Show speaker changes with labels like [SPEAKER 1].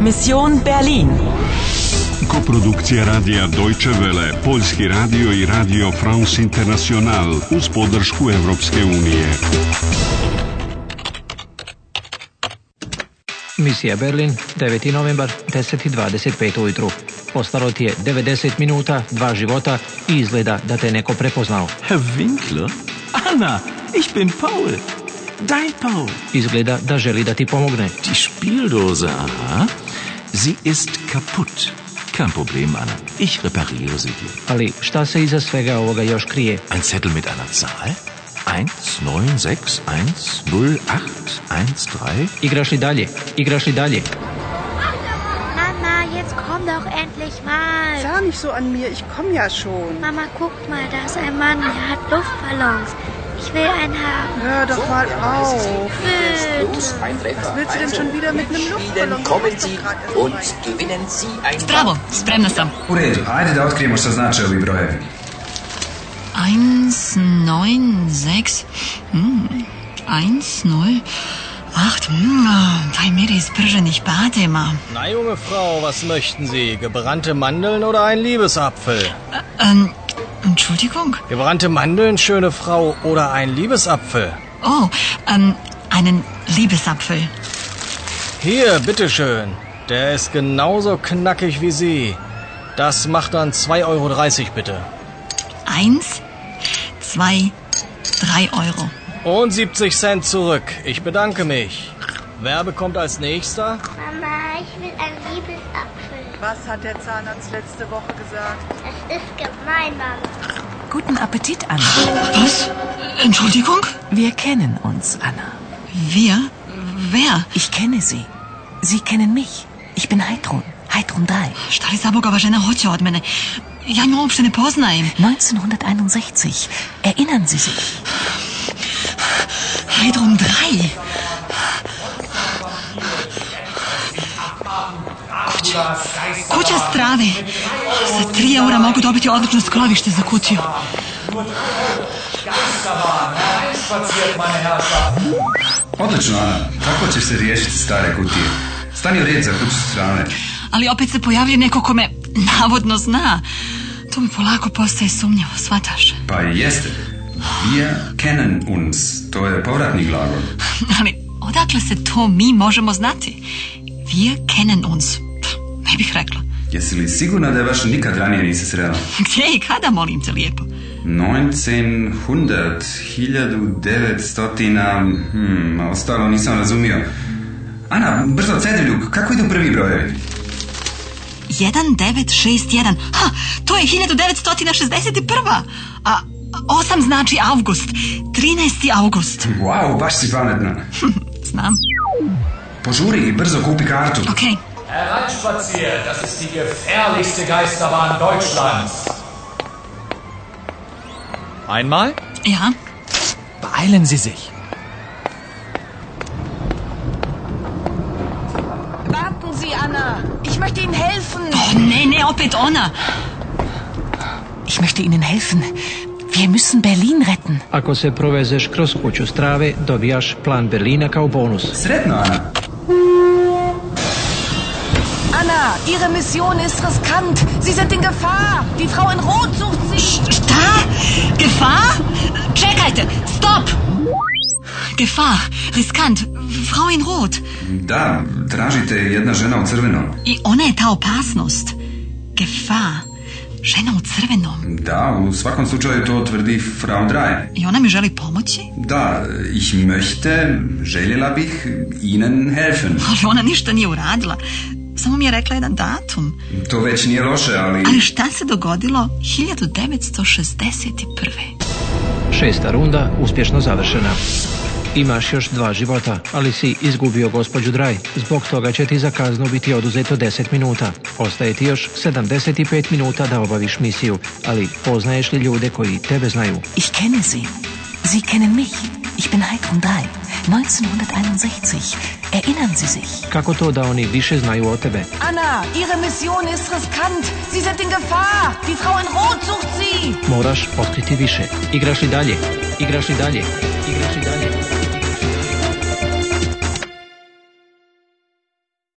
[SPEAKER 1] Mission Berlin.
[SPEAKER 2] Koprodukcija radija Deutsche Welle, Poljski radio i radio France International uz podršku Europske unije.
[SPEAKER 3] Misija Berlin, 9. novembar, 10.25 ujutru. Ostalo ti je 90 minuta, dva života i izgleda da te je neko prepoznao.
[SPEAKER 4] Herr Winkler? Anna, ich bin Paul. Dein Paul.
[SPEAKER 3] Izgleda da želi da ti pomogne.
[SPEAKER 4] Die Spieldose, aha. Sie ist kaputt. Kein Problem, Anna. Ich repariere sie dir.
[SPEAKER 3] Ali šta se iza svega ovoga još krije?
[SPEAKER 4] Ein Zettel mit einer Zahl? 1, 9, 6, 1, 0, 8, 1, 3.
[SPEAKER 3] Igraš li dalje? Igraš li dalje?
[SPEAKER 5] Mama, jetzt komm doch endlich mal.
[SPEAKER 6] Sah nicht so an mir, ich komme ja schon.
[SPEAKER 5] Mama, guck mal, da ist ein Mann, der hat Luftballons. Ich will einen haben.
[SPEAKER 6] Hör doch mal auf.
[SPEAKER 5] Bitte.
[SPEAKER 7] Los, mein Treffer.
[SPEAKER 6] Was willst du denn
[SPEAKER 7] Also,
[SPEAKER 6] schon wieder mit einem
[SPEAKER 7] Spielen
[SPEAKER 6] Luftballon?
[SPEAKER 7] kommen
[SPEAKER 6] Das ist
[SPEAKER 7] Sie
[SPEAKER 6] doch gerade erst
[SPEAKER 7] und
[SPEAKER 6] rein.
[SPEAKER 7] gewinnen Sie ein
[SPEAKER 8] Bravo, spremna sam.
[SPEAKER 9] U redu, ajde da otkrijemo šta znače ovi brojevi.
[SPEAKER 8] 1, 9, 6, hm, 1, 0, 8, hm, bei mir ist brženih badema.
[SPEAKER 10] Na, junge Frau, was möchten Sie? Gebrannte Mandeln oder ein Liebesapfel?
[SPEAKER 8] Ähm, Entschuldigung?
[SPEAKER 10] Gebrannte Mandeln, schöne Frau, oder ein Liebesapfel?
[SPEAKER 8] Oh, ähm, einen Liebesapfel.
[SPEAKER 10] Hier, bitteschön. Der ist genauso knackig wie Sie. Das macht dann 2,30 Euro bitte.
[SPEAKER 8] Eins, zwei, drei Euro.
[SPEAKER 10] Und 70 Cent zurück. Ich bedanke mich. Wer bekommt als nächster?
[SPEAKER 5] Mama, ich will einen Liebesapfel.
[SPEAKER 6] Was hat der Zahnarzt letzte Woche gesagt?
[SPEAKER 5] Das ist gemein, Mama.
[SPEAKER 11] Guten Appetit, Anna.
[SPEAKER 8] Was? Entschuldigung?
[SPEAKER 11] Wir kennen uns, Anna.
[SPEAKER 8] Wir? Wer?
[SPEAKER 11] Ich kenne Sie. Sie kennen mich. Ich bin Heidrun. Heidrun 3.
[SPEAKER 8] Šta je zaboga va žena hoće od mene? Ja nju uopšte ne poznajem.
[SPEAKER 11] 1961. Erinnern Sie sich?
[SPEAKER 8] Heidrum 3. Kuća, kuća strave. Za 3 eura mogu dobiti odlično skrovište za kutiju.
[SPEAKER 9] Odlično, Ana. Kako ćeš se riješiti stare kutije? Stani u red za kuću s strane.
[SPEAKER 8] Ali opet se pojavlja neko ko me navodno zna. To mi polako postaje sumnjivo, shvataš?
[SPEAKER 9] Pa i jeste. Wir kennen uns. To je povratni glagol.
[SPEAKER 8] Ali odakle se to mi možemo znati? Wir kennen uns. Pff, Ne bih rekla.
[SPEAKER 9] Jesi li sigurna da je baš nikad ranije nisi srela?
[SPEAKER 8] Gdje i kada, molim te lijepo?
[SPEAKER 9] 1900, 1900, hmm, a ostalo nisam razumio. Ana, brzo cedeljug, kako idu prvi brojevi?
[SPEAKER 8] 1961. Ha, to je 1961. A 8 znači avgust. 13. avgust.
[SPEAKER 9] Wow, baš si pametna.
[SPEAKER 8] Znam.
[SPEAKER 9] Požuri i brzo kupi kartu.
[SPEAKER 8] Ok.
[SPEAKER 7] Hereinspaziert, das ist die gefährlichste Geisterbahn Deutschlands.
[SPEAKER 4] Einmal?
[SPEAKER 8] Ja.
[SPEAKER 4] Beeilen Sie sich.
[SPEAKER 11] Warten Sie, Anna. Ich möchte Ihnen helfen.
[SPEAKER 8] O, ne, ne, opet ona.
[SPEAKER 11] Ich möchte Ihnen helfen. Wir müssen Berlin retten.
[SPEAKER 3] Ako se provezeš kroz kuću strave, dobijaš plan Berlina kao bonus.
[SPEAKER 9] Sretno, Ana.
[SPEAKER 11] Anna, Ihre Mission ist riskant. Sie sind in Gefahr. Die Frau in Rot sucht Sie.
[SPEAKER 8] Šta? Gefahr? Čekajte, stop! Gefahr, riskant, Frau in Rot.
[SPEAKER 9] Da, tražite jedna žena u crvenom.
[SPEAKER 8] I ona je ta opasnost. Gefahr, žena u crvenom.
[SPEAKER 9] Da, u svakom slučaju to tvrdi Frau Dreyer.
[SPEAKER 8] I ona mi želi pomoći?
[SPEAKER 9] Da, ich möchte, željela bih Ihnen helfen.
[SPEAKER 8] Ali ona ništa nije uradila. Samo mi je rekla jedan datum.
[SPEAKER 9] To već nije loše, ali...
[SPEAKER 8] Ali šta se dogodilo 1961.
[SPEAKER 3] Šesta runda uspješno završena. Imaš još dva života, ali si izgubio gospođu Draj. Zbog toga će ti za kaznu biti oduzeto 10 minuta. Ostaje ti još 75 minuta da obaviš misiju, ali poznaješ li ljude koji tebe znaju?
[SPEAKER 11] Ich kenne Sie. Sie kennen mich. Ich bin Heidrun 3. 1961. Erinnern Sie sich?
[SPEAKER 3] Kako to da oni više znaju o tebe?
[SPEAKER 11] Anna, Ihre Mission ist riskant. Sie sind in Gefahr. Die Frau in Rot sucht Sie.
[SPEAKER 3] Moraš otkriti više. Igraš li dalje? Igraš li dalje? Igraš li dalje?